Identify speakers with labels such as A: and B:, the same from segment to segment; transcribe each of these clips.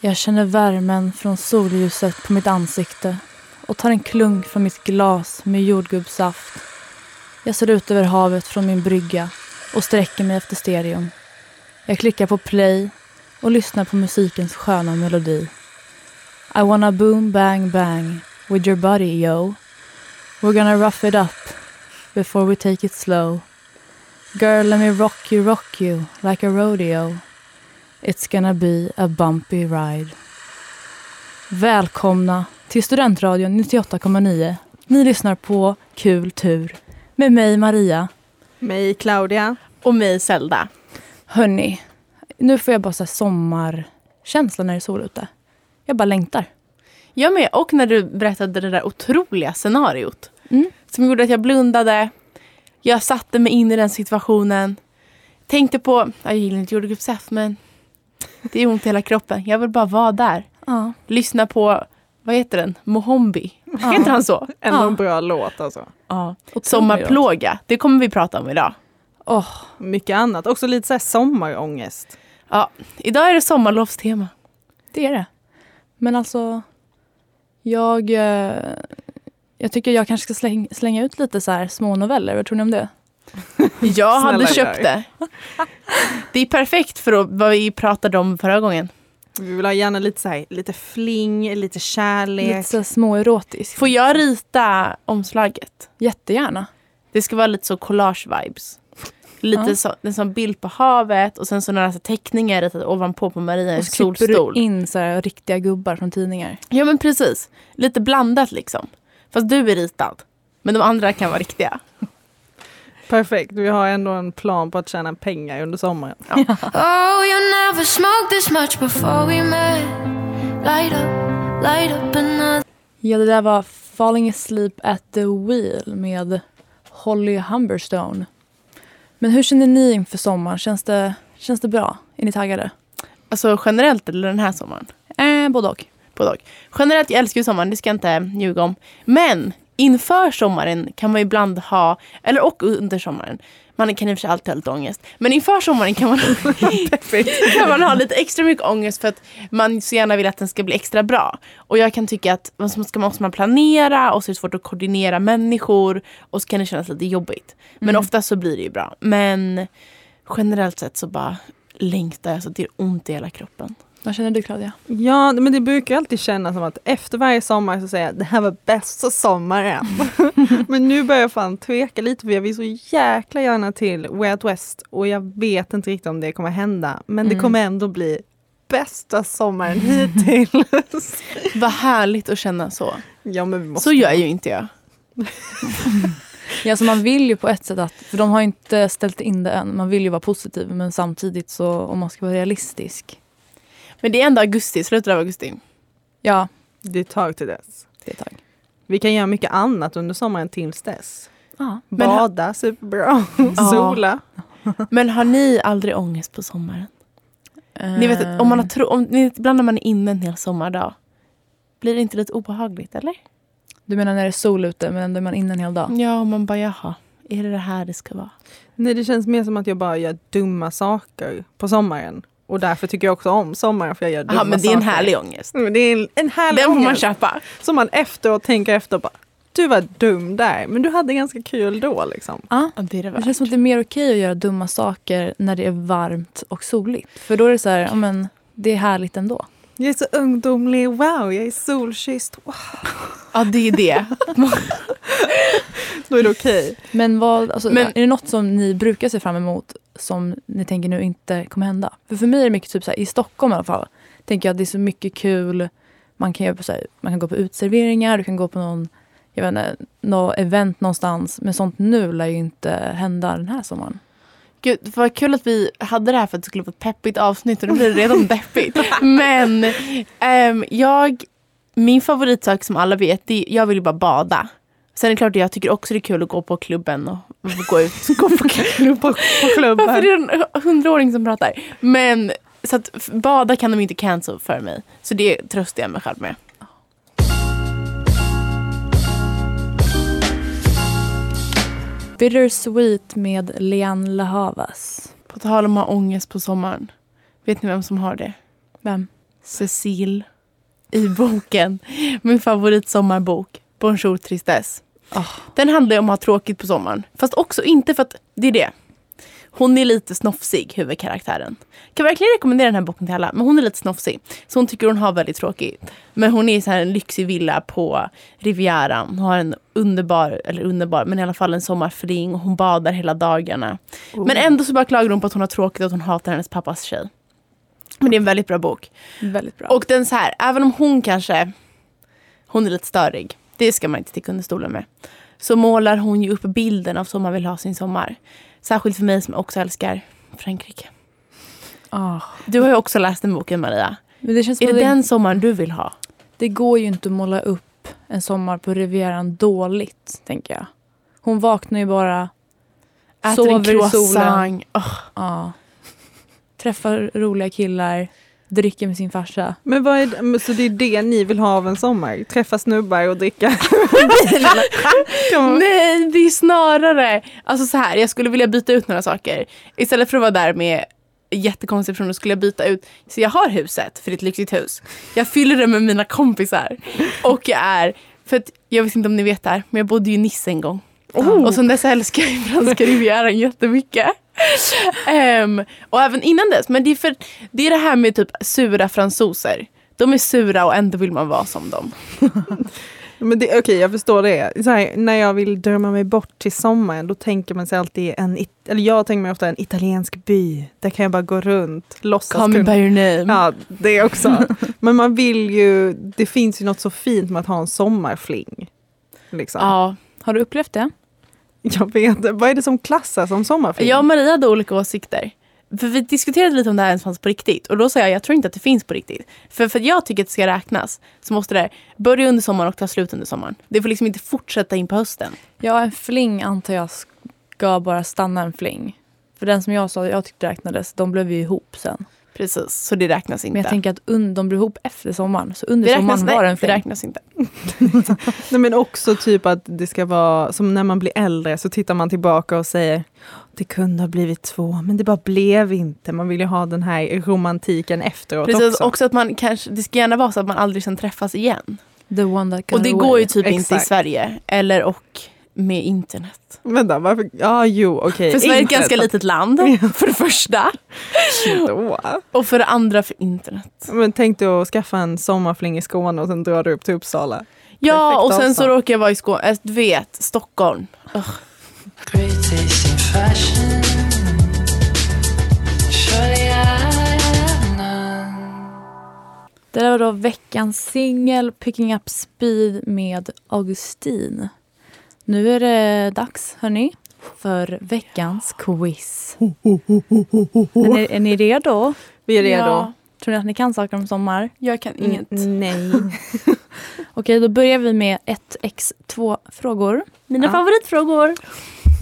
A: Jag känner värmen från solljuset på mitt ansikte och tar en klunk från mitt glas med jordgubbssaft. Jag ser ut över havet från min brygga och sträcker mig efter stereon. Jag klickar på play och lyssnar på musikens sköna melodi. I wanna boom bang bang with your body yo. We're gonna rough it up before we take it slow. Girl let me rock you rock you like a rodeo. It's gonna be a bumpy ride. Välkomna till Studentradion 98,9. Ni lyssnar på Kul tur med mig Maria.
B: Mig Claudia.
C: Och mig Zelda.
A: Hörni, nu får jag bara så här sommarkänsla när det är sol ute. Jag bara längtar.
C: Jag med. Och när du berättade det där otroliga scenariot.
A: Mm.
C: Som gjorde att jag blundade. Jag satte mig in i den situationen. Tänkte på, jag gillar inte jordgubbssaft men det är ont i hela kroppen. Jag vill bara vara där.
A: Ja.
C: Lyssna på, vad heter den? Mohombi. Heter han så?
B: Ändå
A: Ja.
B: en bra låt alltså.
C: Ja.
A: Otroligt.
C: Sommarplåga. Det kommer vi prata om idag.
A: Åh,
B: Mycket annat. Också lite så här sommarångest.
C: Ja. Idag är det sommarlovstema.
A: det är det. Men alltså, jag, eh, jag tycker jag kanske ska släng, slänga ut lite så här små noveller. Vad tror ni om det?
C: Jag
B: Snälla,
C: hade köpt
B: gör.
C: det. Det är perfekt för att- vad vi pratade om förra gången.
B: Vi vill ha gärna lite så här, lite fling, lite
A: Lite
B: kärlek.
A: så här småerotiskt.
C: Får jag rita omslaget?
A: Jättegärna.
C: Det ska vara lite så collage-vibes. Lite
A: Ja.
C: så, en sån bild på havet och sen så några så teckningar ritade ovanpå på Maria i en
A: Och så klipper
C: solstol.
A: du in så här riktiga gubbar från tidningar.
C: Ja men precis. Lite blandat liksom. Fast du är ritad. Men de andra kan vara riktiga.
B: Perfekt. Vi har ändå en plan på att tjäna pengar under sommaren.
D: Oh, you never smoked this much before we met. Light up, light up another.
A: Ja, det där var Falling Asleep at the Wheel med Holly Humberstone. Men hur känner ni inför sommaren? Känns det, känns det bra? Är ni taggade?
C: Alltså generellt eller den här sommaren?
A: Eh, både och.
C: På dag. Generellt, jag älskar ju sommaren, det ska jag inte ljuga om. Men inför sommaren kan man ju ibland ha, eller och under sommaren, man kan i och för sig alltid ha lite ångest. Men inför sommaren kan man, kan man ha lite extra mycket ångest för att man så gärna vill att den ska bli extra bra. Och jag kan tycka att man ska- måste man planera och så är det svårt att koordinera människor och så kan det kännas lite jobbigt. Men ofta så blir det ju bra. Men generellt sett så bara längtar jag så att det är ont i hela kroppen.
A: Vad känner du Claudia?
B: Ja, men det brukar alltid kännas som att efter varje sommar så säger jag det här var bästa sommaren. men nu börjar jag fan tveka lite för jag vill så jäkla gärna till Way Out West och jag vet inte riktigt om det kommer hända. Men det
A: Mm.
B: kommer ändå bli bästa sommaren hittills.
C: Vad härligt att känna så.
B: ja, men vi måste
C: Så gör ju inte jag.
A: Ja, så man vill ju på ett sätt att, för de har ju inte ställt in det än, man vill ju vara positiv men samtidigt så om man ska vara realistisk.
C: Men det är ändå augusti, slutet av augusti.
A: Ja,
B: Det är ett tag till dess.
A: det är ett tag.
B: Vi kan göra mycket annat under sommaren tills dess.
A: Ja.
C: Men-
B: Bada superbra,
C: Ja.
B: sola.
C: Men har ni aldrig ångest på sommaren?
A: Eh,
C: Ni vet att om man har tro- om, ni vet, ibland när man är inne en hel sommardag, blir det inte lite obehagligt eller?
A: Du menar när det är sol ute men ändå är man inne en hel dag?
C: Ja, och man bara jaha, är det det här det ska vara?
B: Nej, det känns mer som att jag bara gör dumma saker på sommaren. Och därför tycker jag också om sommaren för jag gör dumma
C: Ja, men det är en
B: saker.
C: härlig ångest.
B: Mm, Det är en, en härlig
C: Den får man
B: ångest
C: köpa.
B: som man efteråt tänker efter och bara du var dum där, men du hade ganska kul då liksom.
C: Ja, det är det
A: Det
C: värt.
A: känns som att det är mer okej att göra dumma saker när det är varmt och soligt. För då är det så här, ja men det är härligt ändå.
B: Jag är så ungdomlig, wow, jag är solkysst. Wow.
C: Ja, det är det.
B: Då är det okej.
A: Men, vad, alltså,
C: Men-
A: är det något som ni brukar se fram emot som ni tänker nu inte kommer hända? För för mig är det mycket typ så här, i Stockholm i alla fall, tänker jag att det är så mycket kul. Man kan, göra på, så här, man kan gå på utserveringar, du kan gå på någon, jag vet inte, något event någonstans. Men sånt nu lär ju inte hända den här sommaren.
C: Gud, vad kul att vi hade det här för att det skulle vara ett peppigt avsnitt och nu blir det redan deppigt. Men ehm, jag, min favoritsak som alla vet, det är, jag vill ju bara bada. Sen är det klart att jag tycker också det är kul att gå på klubben och gå ut. Gå på klubben.
B: På, på
C: Varför är
B: klubben.
C: det en hundraåring som pratar? Men så att f- bada kan de inte cancel för mig. Så det tröstar jag mig själv med.
A: Bittersweet med Leanne Lahavas.
C: På tal om att ha ångest på sommaren. Vet ni vem som har det?
A: Vem?
C: Cecil i boken. Min favoritsommarbok, Bonjour Tristesse.
A: Ah.
C: Den handlar ju om att ha tråkigt på sommaren. Fast också inte för att, det är det. Hon är lite snofsig, huvudkaraktären. Kan verkligen rekommendera den här boken till alla. Men hon är lite snofsig. Så hon tycker hon har väldigt tråkigt. Men hon är i så här en lyxig villa på Rivieran. Hon har en underbar, eller underbar, men i alla fall en sommarfling. Och hon badar hela dagarna. Men ändå så bara klagar hon på att hon har tråkigt och att hon hatar hennes pappas tjej. Men det är en väldigt bra bok.
A: Väldigt bra.
C: Och den så här, även om hon kanske, hon är lite störig, det ska man inte sticka under stolen med. Så målar hon ju upp bilden av så man vill ha sin sommar. Särskilt för mig som också älskar Frankrike.
A: Ah.
C: Du har ju också läst den boken Maria.
A: Men det känns som
C: Är
A: att
C: det
A: det,
C: den sommaren du vill ha?
A: det går ju inte att måla upp en sommar på Rivieran dåligt, tänker jag. Hon vaknar ju bara,
C: Äter en
A: Sover i
C: croissant. Åh,
A: ja. träffar roliga killar, dricker med sin farsa.
B: Men vad är det? men Så det är det ni vill ha av en sommar? Träffa snubbar och dricka? Kan man-
C: Nej, det är snarare... Alltså så här, jag skulle vilja byta ut några saker. Istället för att vara där med jättekonstiga personer skulle jag byta ut. Så jag har huset, för det är ett lyxigt hus. Jag fyller det med mina kompisar. Och jag är... För att, jag vet inte om ni vet det här, men jag bodde ju i Nice en gång.
B: Oh.
C: Och sen dess älskar jag ju franska rivieran jättemycket. Ehm, och även innan dess. Men det är, för, det är det här med typ sura fransoser. De är sura och ändå vill man vara som dem.
B: Men det, Okej, jag förstår det. Så här, när jag vill drömma mig bort till sommaren då tänker man sig alltid en, it- eller jag tänker mig ofta en italiensk by. Där kan jag bara gå runt, låtsas
C: Call me by
B: kunna.
C: your name.
B: Ja, det också. Men man vill ju, det finns ju något så fint med att ha en sommarfling. Liksom.
C: ja.
A: Har du upplevt det?
B: Jag vet inte. vad är det som klassas som sommarfling?
C: Jag och Maria hade olika åsikter. För vi diskuterade lite om det här ens fanns på riktigt. Och då sa jag, jag tror inte att det finns på riktigt. För för att jag tycker att det ska räknas så måste det börja under sommaren och ta slut under sommaren. Det får liksom inte fortsätta in på hösten.
A: Ja, en fling antar jag ska bara stanna en fling. För den som jag sa, jag tyckte räknades, de blev ju ihop sen.
C: Precis, så det räknas inte.
A: Men jag tänker att un, de blev ihop efter sommaren. Så under
C: det räknas,
A: sommaren
C: nej,
A: var det en
C: det
A: fling.
C: räknas inte.
B: Nej, men också typ att det ska vara som när man blir äldre så tittar man tillbaka och säger det kunde ha blivit två men det bara blev inte. Man vill ju ha den här romantiken efteråt
C: Precis,
B: också.
C: också. att man kanske, det ska gärna vara så att man aldrig sen träffas igen.
A: The one that got
C: Och det
A: away.
C: går ju typ inte i
B: Exakt.
C: Sverige. Eller och med internet.
B: Vänta, varför? Ja, jo, okej.
A: Eh,
C: För Sverige är ett
B: Inte
C: ganska
B: så-
C: litet land, för det första.
B: Då.
C: Och för det andra för internet.
B: Men tänk dig att skaffa en sommarfling i Skåne och sen drar du upp till Uppsala.
C: Ja,
B: Perfekt
C: och sen så
B: avstånd.
C: råkar jag vara i Skåne. Äh, Du vet, Stockholm.
E: Great taste in fashion. Surely I have none.
A: Det där var då veckans singel Picking Up Speed med Augustin. Nu är det dags, hörni, för veckans quiz. Är ni, är ni redo?
B: Vi är redo.
C: Ja,
A: Tror ni att ni kan saker om sommar?
C: jag kan
B: Mm,
C: inget.
B: Nej.
A: Okej, då börjar vi med 1x2-frågor.
C: Mina
B: Ja.
C: favoritfrågor.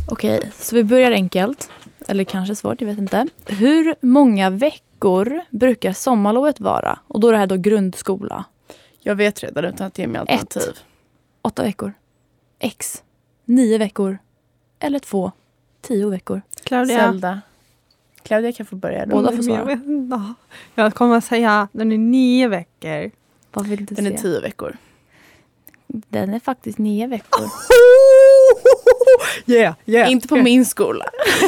A: Okej, så vi börjar enkelt. Eller kanske svårt, jag vet inte. Hur många veckor brukar sommarlovet vara? Och då är det här då grundskola.
C: Jag vet redan utan att ge mig alternativ.
A: Åtta veckor. X. Nio veckor. Eller två. Tio veckor.
B: Claudia.
C: Zelda. Claudia kan få börja då.
A: Båda får
B: Men
A: svara.
B: Mm, jag, vet, inte. jag kommer att säga den är nio veckor.
A: Vad vill du
C: Den är
A: se?
C: tio veckor.
A: Den är faktiskt nio veckor.
B: Yeah, yeah.
C: Inte på min skola.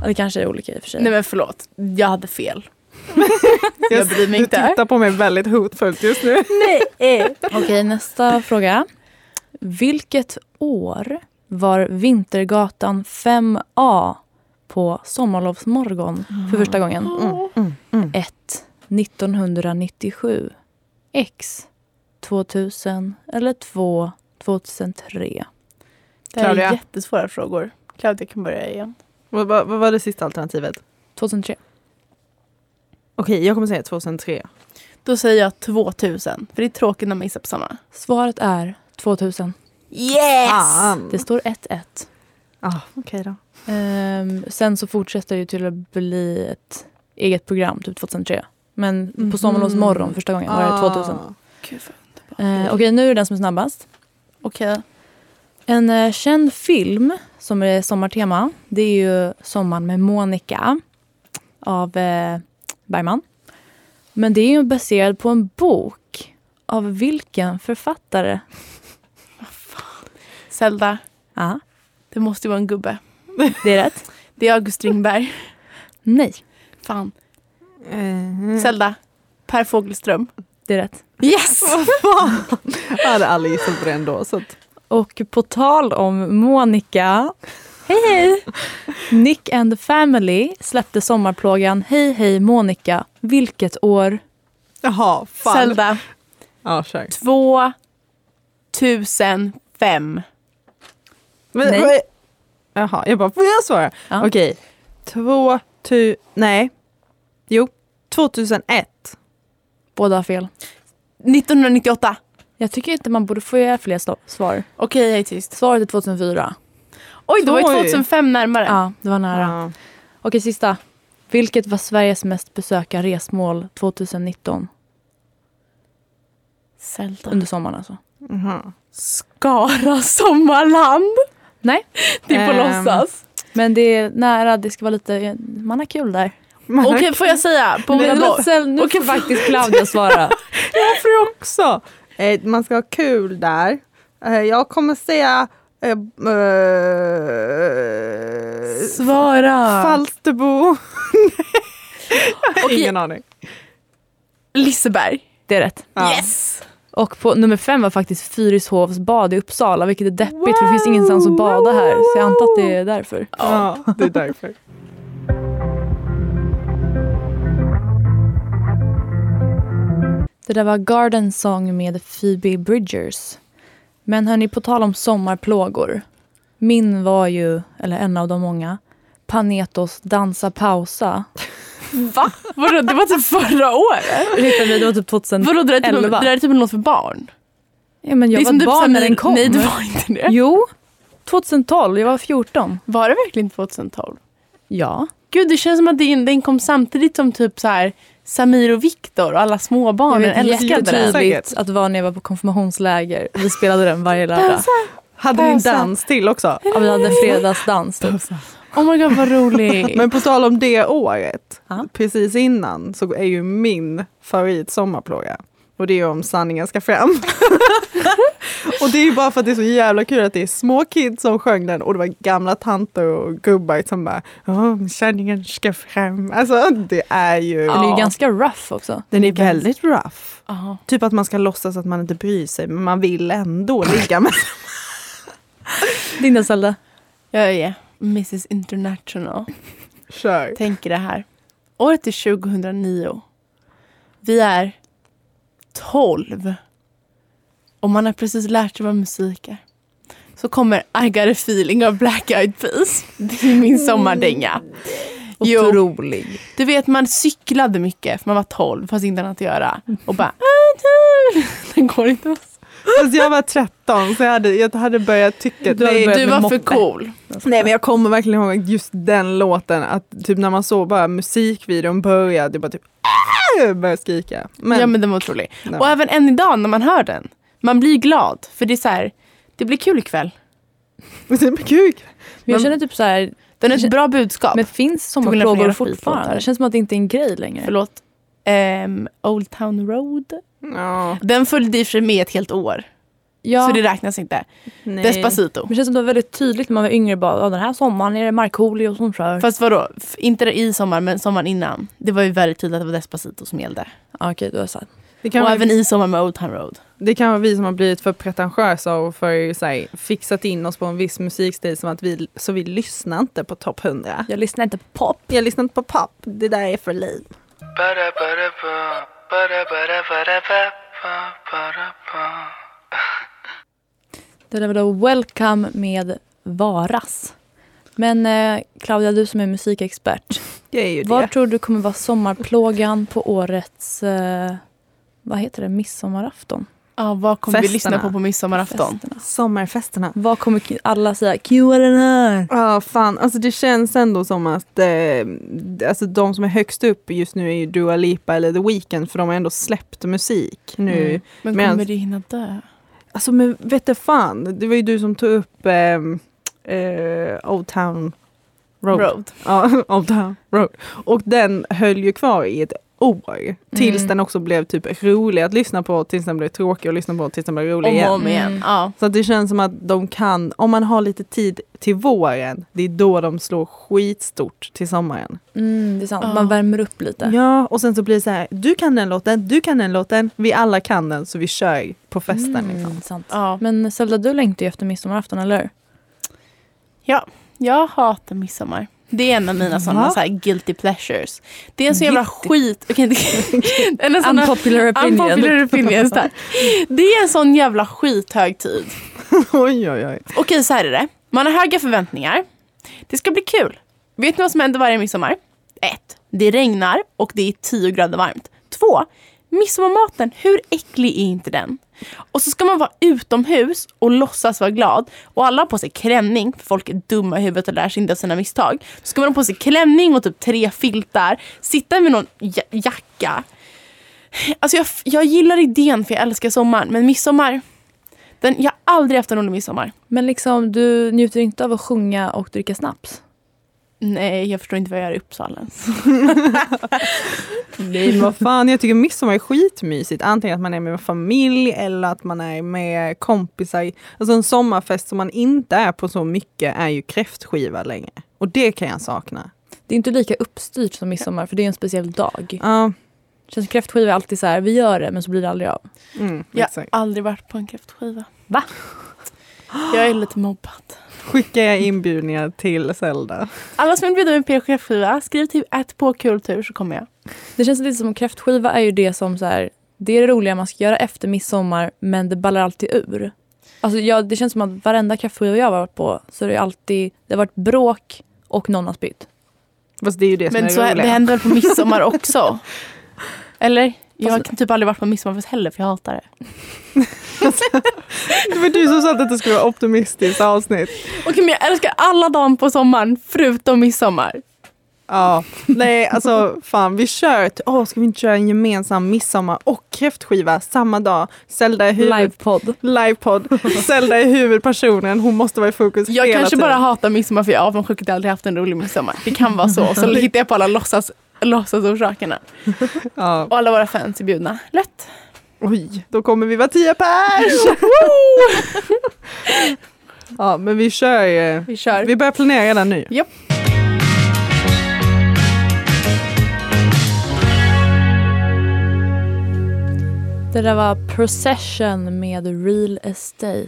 A: Ja, det kanske är olika i och för sig.
C: Nej men förlåt, jag hade fel. jag bryr mig
B: Du typ,
C: inte.
B: tittar på mig väldigt hotfullt just nu.
A: Nej. Okej, nästa fråga. Vilket år var Vintergatan 5A på sommarlovsmorgon för första gången?
B: Mm,
A: Ett 1997. X. 2000 eller 2. 2003.
C: Det här
B: Claudia.
C: är jättesvåra frågor. Claudia kan börja igen.
B: Vad, vad, vad var det sista alternativet?
A: 2003.
B: Okej, jag kommer säga 2003.
C: Då säger jag 2000. För det är tråkigt när man gissar på samma.
A: Svaret är 2000.
C: Yes!
B: Fan.
A: Det står 1-1.
B: Ah, Okej då.
A: Ehm, sen så fortsätter det ju till att bli ett eget program, typ 2003. Men på sommarlovsmorgon första gången var det 2000.
B: Ah.
C: Gud, vad underbart.
A: Eh, Okej, nu är det den som är snabbast.
C: Okej.
A: En eh, känd film som är sommartema, det är ju Sommaren med Monica av eh, Bergman. Men det är ju baserad på en bok. Av vilken författare?
C: Zelda,
A: Ja,
C: det måste ju vara en gubbe.
A: det är rätt.
C: Det är August Strindberg.
A: Nej,
C: Fan.
B: Eh,
C: Mm. Zelda, Per Fogelström.
A: det är rätt.
C: Yes!
B: Jag hade aldrig gissat på det ändå. Så att,
A: Och på tal om Monica. Hej hej! Nick and the Family släppte sommarplågan Hej hej Monica. Vilket år?
B: jaha, fan.
C: Zelda,
B: Ja, kör.
C: 2005.
B: Men,
A: Nej.
B: vad- Jaha, jag bara, får jag svara?
A: Ja.
B: Okej. Två, tu, nej. Jo, 2001.
A: Båda har fel.
C: 1998.
A: Jag tycker inte man borde få göra fler sta- svar.
C: Okej, jag är tyst.
A: Svaret är 2004.
C: Oj, det var ju
B: Oj.
C: 2005 närmare.
A: Ja, det var nära.
B: Ja.
A: Okej, sista. Vilket var Sveriges mest besökta resmål 2019?
C: Zelda.
A: Under sommaren alltså.
B: Mhm.
C: Skara sommarland.
A: Nej,
C: Det är på
B: Ehm.
C: låtsas.
A: Eh, men det är nära. Det ska vara lite... Man har kul där.
B: Men
C: Okej, får jag säga? Bola Boll.
A: nu får faktiskt Claudia svara.
B: Varför också? Eh, man ska ha kul där. Eh, jag kommer säga eh, eh,
C: Svara.
B: Falsterbo.
C: Okej.
B: Ingen aning.
C: Liseberg.
A: Det är rätt.
B: Ja.
C: Yes!
A: Och på nummer fem var faktiskt Fyrishovs bad i Uppsala, vilket är deppigt för det finns ingenstans att bada här. Så jag antar att det är därför.
B: Ja, det är därför.
A: Det där var Garden Song med Phoebe Bridgers. Men hörni, på tal om sommarplågor. Min var ju, eller en av de många, Panetos Dansa pausa.
C: Va? Vadå, det var typ förra året?
A: Ursäkta mig, det var typ 2000.
C: Vadå, det där är typ, en-
A: Elva.
C: det där är typ en låt för barn?
A: Ja, men jag
C: det
A: var
C: är
A: ett
C: typ
A: barn
C: såhär
A: när
C: ny-
A: den kom.
C: Nej, det var inte det.
A: Jo, 2012. Jag var 14.
C: Var det verkligen 2012?
A: Ja.
C: Gud, det känns som att den, den kom samtidigt som typ så här Samir och Viktor och alla småbarnen
A: jag vet
C: älskade den.
A: jättetydligt
B: Säkert.
A: att det var när jag var på konfirmationsläger. Vi spelade den varje lördag.
B: Hade ni en
A: Alltså,
C: Pausa.
B: dans till också?
A: Ja, vi hade fredagsdans. Typ.
C: Oh my god, vad rolig.
B: Men på tal om det året,
A: Ja.
B: precis innan så är ju min favorit sommarplåga. Och det är ju om sanningen ska fram. och det är ju bara för att det är så jävla kul att det är små kids som sjöng den och det var gamla tanter och gubbar som bara "Åh, sanningen ska fram. Alltså det är ju...
A: Den är ju
C: Ja.
A: ganska rough också.
B: Den är väldigt rough.
C: Aha.
B: Typ att man ska låtsas att man inte bryr sig men man vill ändå ligga med.
A: Din då, Zelda?
C: Jag är Mrs International.
B: Kör.
C: Tänk er det här. Året är 2009. Vi är 12. Och man har precis lärt sig vad musik är. Så kommer I got a feeling av Black Eyed Peas. Det är min sommardänga.
A: Mm.
C: Jo,
A: Otrolig.
C: du vet man cyklade mycket för man var 12 fast inte annat att göra. Och bara... "Ah, Den går inte alls.
B: Alltså jag var 13 så jag hade, jag hade börjat tycka...
A: Du hade
B: Nej,
A: börjat
C: Du
A: med
C: var för
A: moppe.
C: cool.
B: Alltså. Nej men jag kommer verkligen ihåg just den låten, att typ när man såg bara musikvideon börja, det bara typ "Ah!" började skrika. Men,
C: Ja men den var otrolig.
B: nej.
C: Och även än idag när man hör den. Man blir glad för det är så här, det blir kul ikväll.
B: men det är kul.
A: Men jag
C: Men-
A: känner typ så här,
C: Den är ett bra budskap.
A: men finns
C: Till skillnad från
A: sommarplågor
C: era
A: fortfarande?
C: skitlåtar.
A: Det känns som att det inte är en grej längre.
C: Förlåt. Ehm, Old Town Road.
B: Ja,
C: Den följde i och för sig med ett helt år.
A: Ja,
C: Så det räknas inte.
B: nej.
C: Despacito.
A: men det känns som att det var väldigt tydligt när man var yngre. Bara, "Ja, den här sommaren är det Markoolio som kör.
C: Fast vadå? F- Inte i sommar men sommaren innan. Det var ju väldigt tydligt att det var Despacito som gällde.
A: Ja, okej, du har sagt.
B: Det kan,
C: och
B: vara,
C: även i sommar med Old Town Road.
B: det kan vara vi som har blivit för pretentiösa och för så här, fixat in oss på en viss musikstil som att vi, så vi lyssnar inte på topp 100.
A: Jag lyssnar inte på pop.
B: Jag lyssnar inte på pop, det där är för liv.
E: Para para pa, para para para pa, pa para pa.
A: Det där var då Welcome med Varas. Men eh, Claudia, du som är musikexpert.
B: Jag är ju det.
A: Vad tror du kommer vara sommarplågan på årets, eh, vad heter det, midsommarafton?
C: Ja, vad kommer vi
B: Festerna.
C: lyssna på på midsommarafton?
A: Festerna.
B: Sommarfesterna.
A: Vad kommer k- alla säga? Cue den här!
B: Ja, fan. Alltså det känns ändå som att eh, alltså, de som är högst upp just nu är ju Dua Lipa eller The Weeknd för de har ändå släppt musik nu.
A: Mm.
C: Men
B: Men-
C: kommer det hinna dö?
B: Alltså men vet du fan, det var ju du som tog upp eh, eh, Old ehm, Town Road.
C: Road.
B: Ja, Old Town Road. Och den höll ju kvar i ett år. Tills
C: Mm.
B: den också blev typ rolig att lyssna på, tills den blev tråkig att lyssna på, tills den blev rolig
C: Om
B: igen.
C: och om igen.
A: Mm.
C: Ja.
B: Så att det känns som att de kan, om man har lite tid till våren, det är då de slår skitstort till sommaren.
A: Mm, det är sant.
C: Ja.
A: Man värmer upp lite.
B: Ja, och sen så blir det så här, du kan den låten, du kan den låten, vi alla kan den så vi kör på festen. Liksom.
A: Mm, sant.
C: Ja.
A: Men Zelda, du längtar ju efter midsommarafton, eller hur?
C: Jag hatar midsommar. Det är en av mina sådana
B: Va?
C: så här guilty pleasures. Det är en så jävla
B: Guilty-
C: skit... Okej, det- en av såna-
A: Unpopular opinion.
C: Unpopular opinions där. Det är en sån jävla skithögtid.
B: Oj, oj, oj.
C: Okej, så här är det. Man har höga förväntningar. Det ska bli kul. Vet ni vad som händer varje midsommar? Ett, Det regnar och det är 10 grader varmt. Två, Midsommarmaten, hur äcklig är inte den? Och så ska man vara utomhus och låtsas vara glad. Och alla har på sig klänning, för folk är dumma i huvudet och lär sig inte av sina misstag. Så ska man ha på sig klänning och typ tre filtar, sitta med någon ja- jacka. Alltså jag, f- jag gillar idén för jag älskar sommaren, men midsommar, den, jag har aldrig haft en rolig midsommar.
A: Men liksom, du njuter inte av att sjunga och dricka snaps?
C: Nej, jag förstår inte vad jag gör i Uppsala ens.
B: Nej, men vad fan, jag tycker midsommar är skitmysigt. Antingen att man är med familj eller att man är med kompisar. Alltså en sommarfest som man inte är på så mycket är ju kräftskiva längre. Och det kan jag sakna.
A: Det är inte lika uppstyrt som midsommar för det är en speciell dag.
B: Ja,
A: Känns kräftskiva är alltid så här, vi gör det men så blir det aldrig av.
B: mm,
C: Jag har
B: exakt.
C: aldrig varit på en kräftskiva. Va? Jag är lite mobbad.
B: Skickar jag inbjudningar till Zelda.
C: Alla som vill bjuda mig på er kräftskiva, skriv till ett på kultur så kommer jag.
A: Det känns lite som att kräftskiva är ju det som så här, det är det roliga man ska göra efter midsommar men det ballar alltid ur. Alltså jag, det känns som att varenda kräftskiva jag har varit på så är det alltid, det har varit bråk och någon har spytt.
B: Fast det är ju det som
C: Men
B: är
C: så
B: det
C: det
B: roliga.
C: händer väl på midsommar också? Eller? Jag har
A: Fast-
C: typ aldrig varit på midsommarfest heller för jag hatar det.
B: Det var du som sa att det skulle vara optimistiskt avsnitt.
C: Okej men jag älskar alla dagar på sommaren förutom midsommar.
B: Ja, nej alltså fan vi kör, ett- åh ska vi inte köra en gemensam midsommar och kräftskiva samma dag? Zelda är huvud...
A: Livepodd.
B: Livepodd. Zelda är huvudpersonen, hon måste vara i fokus
C: Jag
B: hela
C: kanske
B: tiden.
C: bara hatar midsommar för jag är avundsjuk att jag aldrig haft en rolig midsommar. Det kan vara så. Så hittar jag på alla låtsas, låtsasorsakerna.
B: Ja.
C: Och alla våra fans är bjudna. Lätt.
B: Oj, då kommer vi vara tio pers! ja, men vi kör eh,
C: Vi kör.
B: Vi börjar planera redan nu.
C: Japp.
A: Det där var Procession med Real Estate.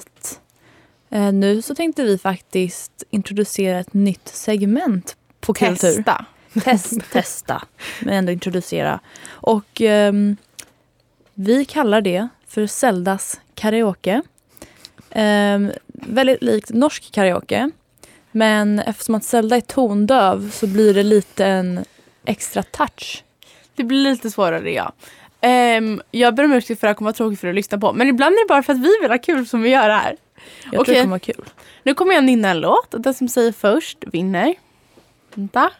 A: Eh, nu så tänkte vi faktiskt introducera ett nytt segment på Kultur.
C: Testa.
A: Test, testa, men ändå introducera. Och ehm, vi kallar det för Zeldas karaoke. Ehm, väldigt likt norsk karaoke. Men eftersom att Zelda är tondöv så blir det lite en extra touch.
C: Det blir lite svårare ja. Ehm, jag ber om ursäkt för att jag kommer vara tråkig för att lyssna på. Men ibland är det bara för att vi vill ha kul som vi gör det här.
A: Jag tror
C: Okej.
A: det kommer vara kul.
C: Nu kommer jag nynna en låt och den som säger först vinner. Vänta.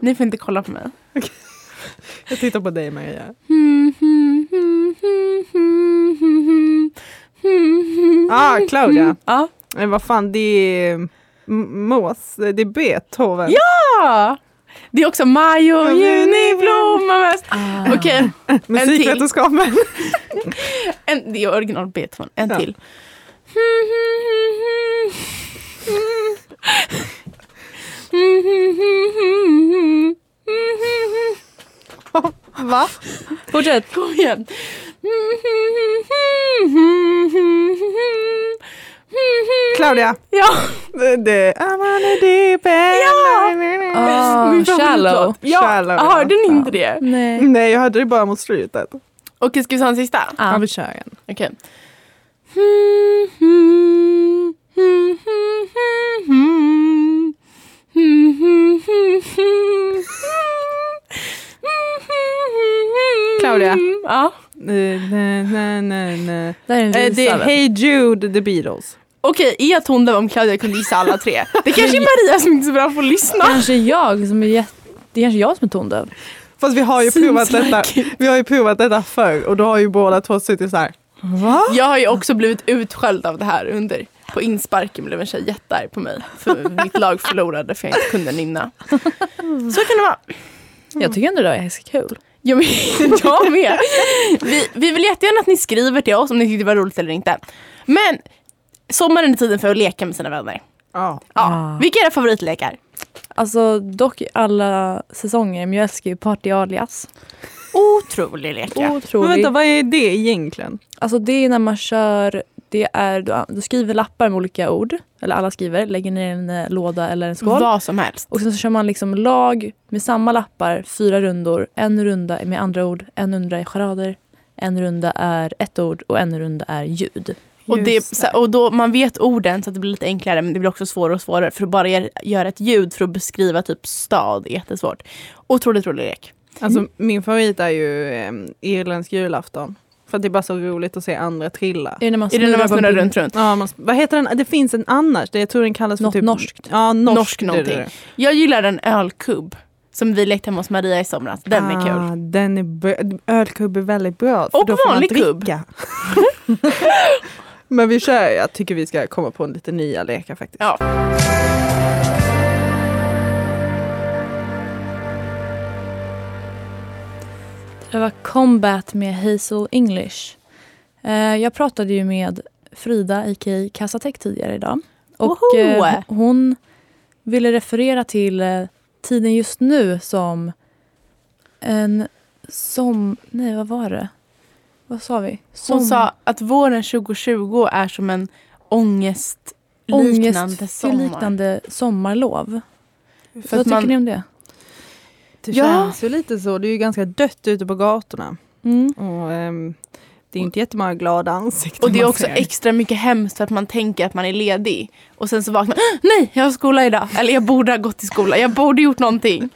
C: Ni får inte kolla på mig.
B: Jag tittar på dig Maria. Ah, Claudia.
C: Ja.
B: Nej, Eh, vad fan, det är M- Mås, det är Beethoven.
C: Ja. Det är också maj och juni blommar mest. Okej,
B: Musikvetenskapen.
C: En, det är original Beethoven. En
B: Ja.
C: till.
B: Va?
A: Fortsätt!
C: Kom igen.
B: Claudia.
C: Ja,
B: Det- Det I'm on a deep end.
A: Ja. Ah,
C: Min favoritlåt.
A: Shallow.
C: Ja, Mm.
B: Shallow, ja.
C: hörde ni inte det?
A: Nej.
B: Nej, jag hörde det bara mot slutet.
C: Okej, ska vi ta en sista?
A: Ja.
B: vi kör igen.
C: Okej.
B: Claudia.
C: Ja.
B: Eh, Nej, nej, nej, nej.
A: Det här är en
B: Eh, Det
A: visa.
B: är
A: väl?
B: Hey Jude, The Beatles.
C: Okej, är jag tondöv om Claudia kunde gissa alla tre? Det kanske är Maria som inte är så bra på att lyssna.
A: Kanske jag som är jätte... Det är kanske jag som är tondöv.
B: Fast vi har ju
C: Seems
B: provat
C: like
B: detta
C: it.
B: Vi har ju provat detta förr och då har ju båda två suttit så här. Va?
C: Jag har ju också blivit utskälld av det här under På insparken blev en tjej jättearg på mig. För mitt lag förlorade för jag inte kunde nynna. Så kan det vara. Mm.
A: Jag tycker ändå det var ganska kul.
C: Jag, men, jag med. Vi, vi vill jättegärna att ni skriver till oss om ni tyckte det var roligt eller inte. Men sommaren är tiden för att leka med sina vänner.
B: Ja.
C: Ja.
A: Ah.
C: Vilka är era favoritlekar?
A: Alltså dock alla säsonger, men jag älskar ju Party Alias.
C: Otrolig lek. ja.
B: Men
A: Otrolig.
B: vänta, vad är det egentligen?
A: Alltså det är när man kör, det är, du, du skriver lappar med olika ord, eller alla skriver, lägger ner en eh, låda eller en skål.
C: Vad som helst.
A: Och sen så kör man liksom lag med samma lappar, fyra rundor. En runda är med andra ord, en runda är charader, en runda är ett ord och en runda är ljud.
C: Och, det,
B: Just
C: så, här- och då, man vet orden så att det blir lite enklare men det blir också svårare och svårare för att bara gör- göra ett ljud för att beskriva typ stad är jättesvårt. Otroligt rolig lek.
B: Alltså min favorit är ju eh, Irländsk julafton. För att det är bara så roligt att se andra trilla.
A: Är det när man
C: Är det när man
A: på en
C: snurrar
A: pinne?
C: runt runt?
B: Ja, man, vad heter den? Det finns en annars. Det, jag tror den kallas för
A: Något
B: typ...
A: norskt.
B: Ja, norsk,
C: Norsk någonting.
B: det är det.
C: Jag gillar den ölkubb som vi lekte hemma hos Maria i somras. Den är kul.
B: Ah, den är bra. Ölkubb är väldigt bra. för
C: Och
B: då får man
C: vanlig kubb.
B: dricka. Men vi kör, jag tycker vi ska komma på en lite nya lekar faktiskt.
C: Ja.
A: Det var Combat med Hazel English. Eh, jag pratade ju med Frida, a.k.a. Kassatek, tidigare idag. Och
C: Woho!
A: eh, hon ville referera till eh, tiden just nu som en som... Nej, vad var det? Vad sa vi?
C: Hon
A: Som-
C: sa att våren 2020 är som en ångestliknande sommar.
A: liknande sommarlov.
C: För
A: vad
C: att
A: tycker
C: man,
A: ni om det?
B: Det
C: Ja.
B: känns ju lite så. Det är ju ganska dött ute på gatorna.
A: Mm.
B: Och, ehm, det är inte jättemånga glada ansikten
C: och det är
B: man
C: också
B: ser.
C: extra mycket hemskt för att man tänker att man är ledig. Och sen så vaknar man, "Ah, nej jag har skola idag. Eller jag borde ha gått till skolan, jag borde gjort någonting.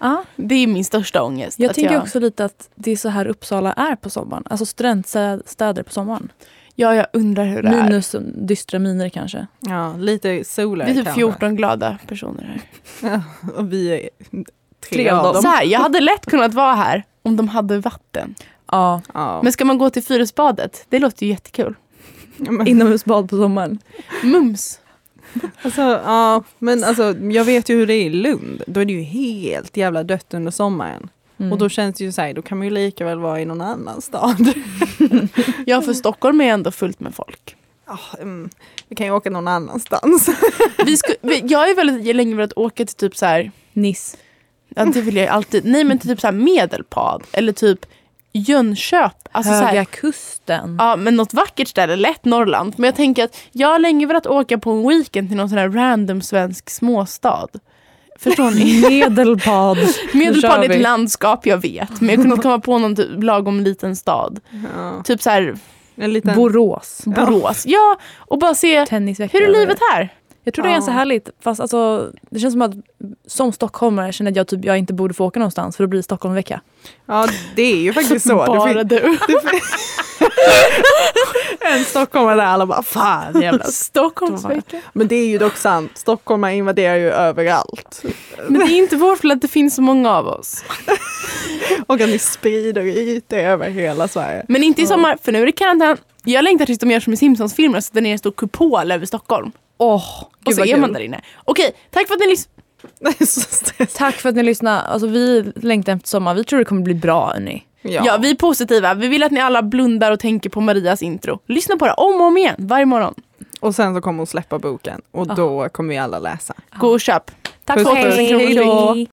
A: Ja.
C: Det är min största ångest.
A: Jag
C: att
A: tänker också lite att det är så här Uppsala är på sommaren. Alltså studentstäder på sommaren.
C: Ja jag undrar hur det är.
A: Minus dystra miner kanske.
B: Ja, lite solar
C: Vi är typ
B: kanske.
C: 14 glada personer här.
B: Och vi är tre,
A: Tre
B: av
A: av
B: dem.
C: Så här, jag hade lätt kunnat vara här om de hade vatten.
A: Ja.
B: Ja.
C: Men ska man gå till Fyrisbadet? Det låter ju jättekul.
A: Mm.
B: Men,
A: Inomhusbad på sommaren.
C: Mums!
B: alltså, ja, men alltså, jag vet ju hur det är i Lund. Då är det ju helt jävla dött under sommaren.
A: Mm.
B: Och då känns det ju så här, då kan man ju lika väl vara i någon annan stad.
C: Ja för Stockholm är ändå fullt med folk.
B: Ja, mm, vi kan ju åka någon annanstans.
C: Vi sku, vi, jag är väldigt länge velat åka till typ så här,
A: Niss.
C: ja, det vill jag ju alltid, nej men till typ så här Medelpad eller typ Jönköp. Alltså så
A: Höga
C: här,
A: kusten.
C: ja men något vackert ställe, lätt Norrland. Men jag tänker att jag har länge velat åka på en weekend till någon sån här random svensk småstad. Förstår ni?
A: Medelpad.
C: Medelpad är
A: vi.
C: ett landskap jag vet men jag kunde komma på någon typ, lagom liten stad.
B: Ja,
C: Typ så här
B: en liten...
A: Borås.
C: Borås. Ja och bara se
A: Tennisvecka.
C: hur är livet här?
A: Jag tror det är ganska
B: Ja.
A: härligt. Fast alltså, det känns som att som stockholmare känner jag typ jag inte borde få åka någonstans för då blir det Stockholmvecka.
B: ja, det är ju faktiskt så. Det
C: Bara
B: fin-
C: du.
B: en stockholmare där alla bara fan jävla
C: Stockholmsvecka.
B: Men det är ju dock sant, stockholmare invaderar ju överallt.
C: Men det är inte vår fel att det finns så många av oss.
B: Och att ni sprider ut er över hela Sverige.
C: Men inte i sommar, för nu är det karantän. Jag längtar tills de gör som i Simpsons-filmer, sätter ner en stor kupol över Stockholm.
A: Åh,
C: Och så
B: vad
C: är
B: kul.
C: man där inne. Okej, tack för att ni lyssnade.
B: Det är så stressigt.
A: Tack för att ni lyssnade. Alltså, vi längtar efter sommar. Vi tror det kommer bli bra. Hörni.
C: Ja. vi är positiva. Vi vill att ni alla blundar och tänker på Marias intro. Lyssna på det om och om igen, varje morgon.
B: Och sen så kommer hon släppa boken och då kommer vi alla läsa.
C: Gå och köp.
A: Tack
B: Puss,
A: för
B: puss.
A: att ni lyssnade.
C: Hej då.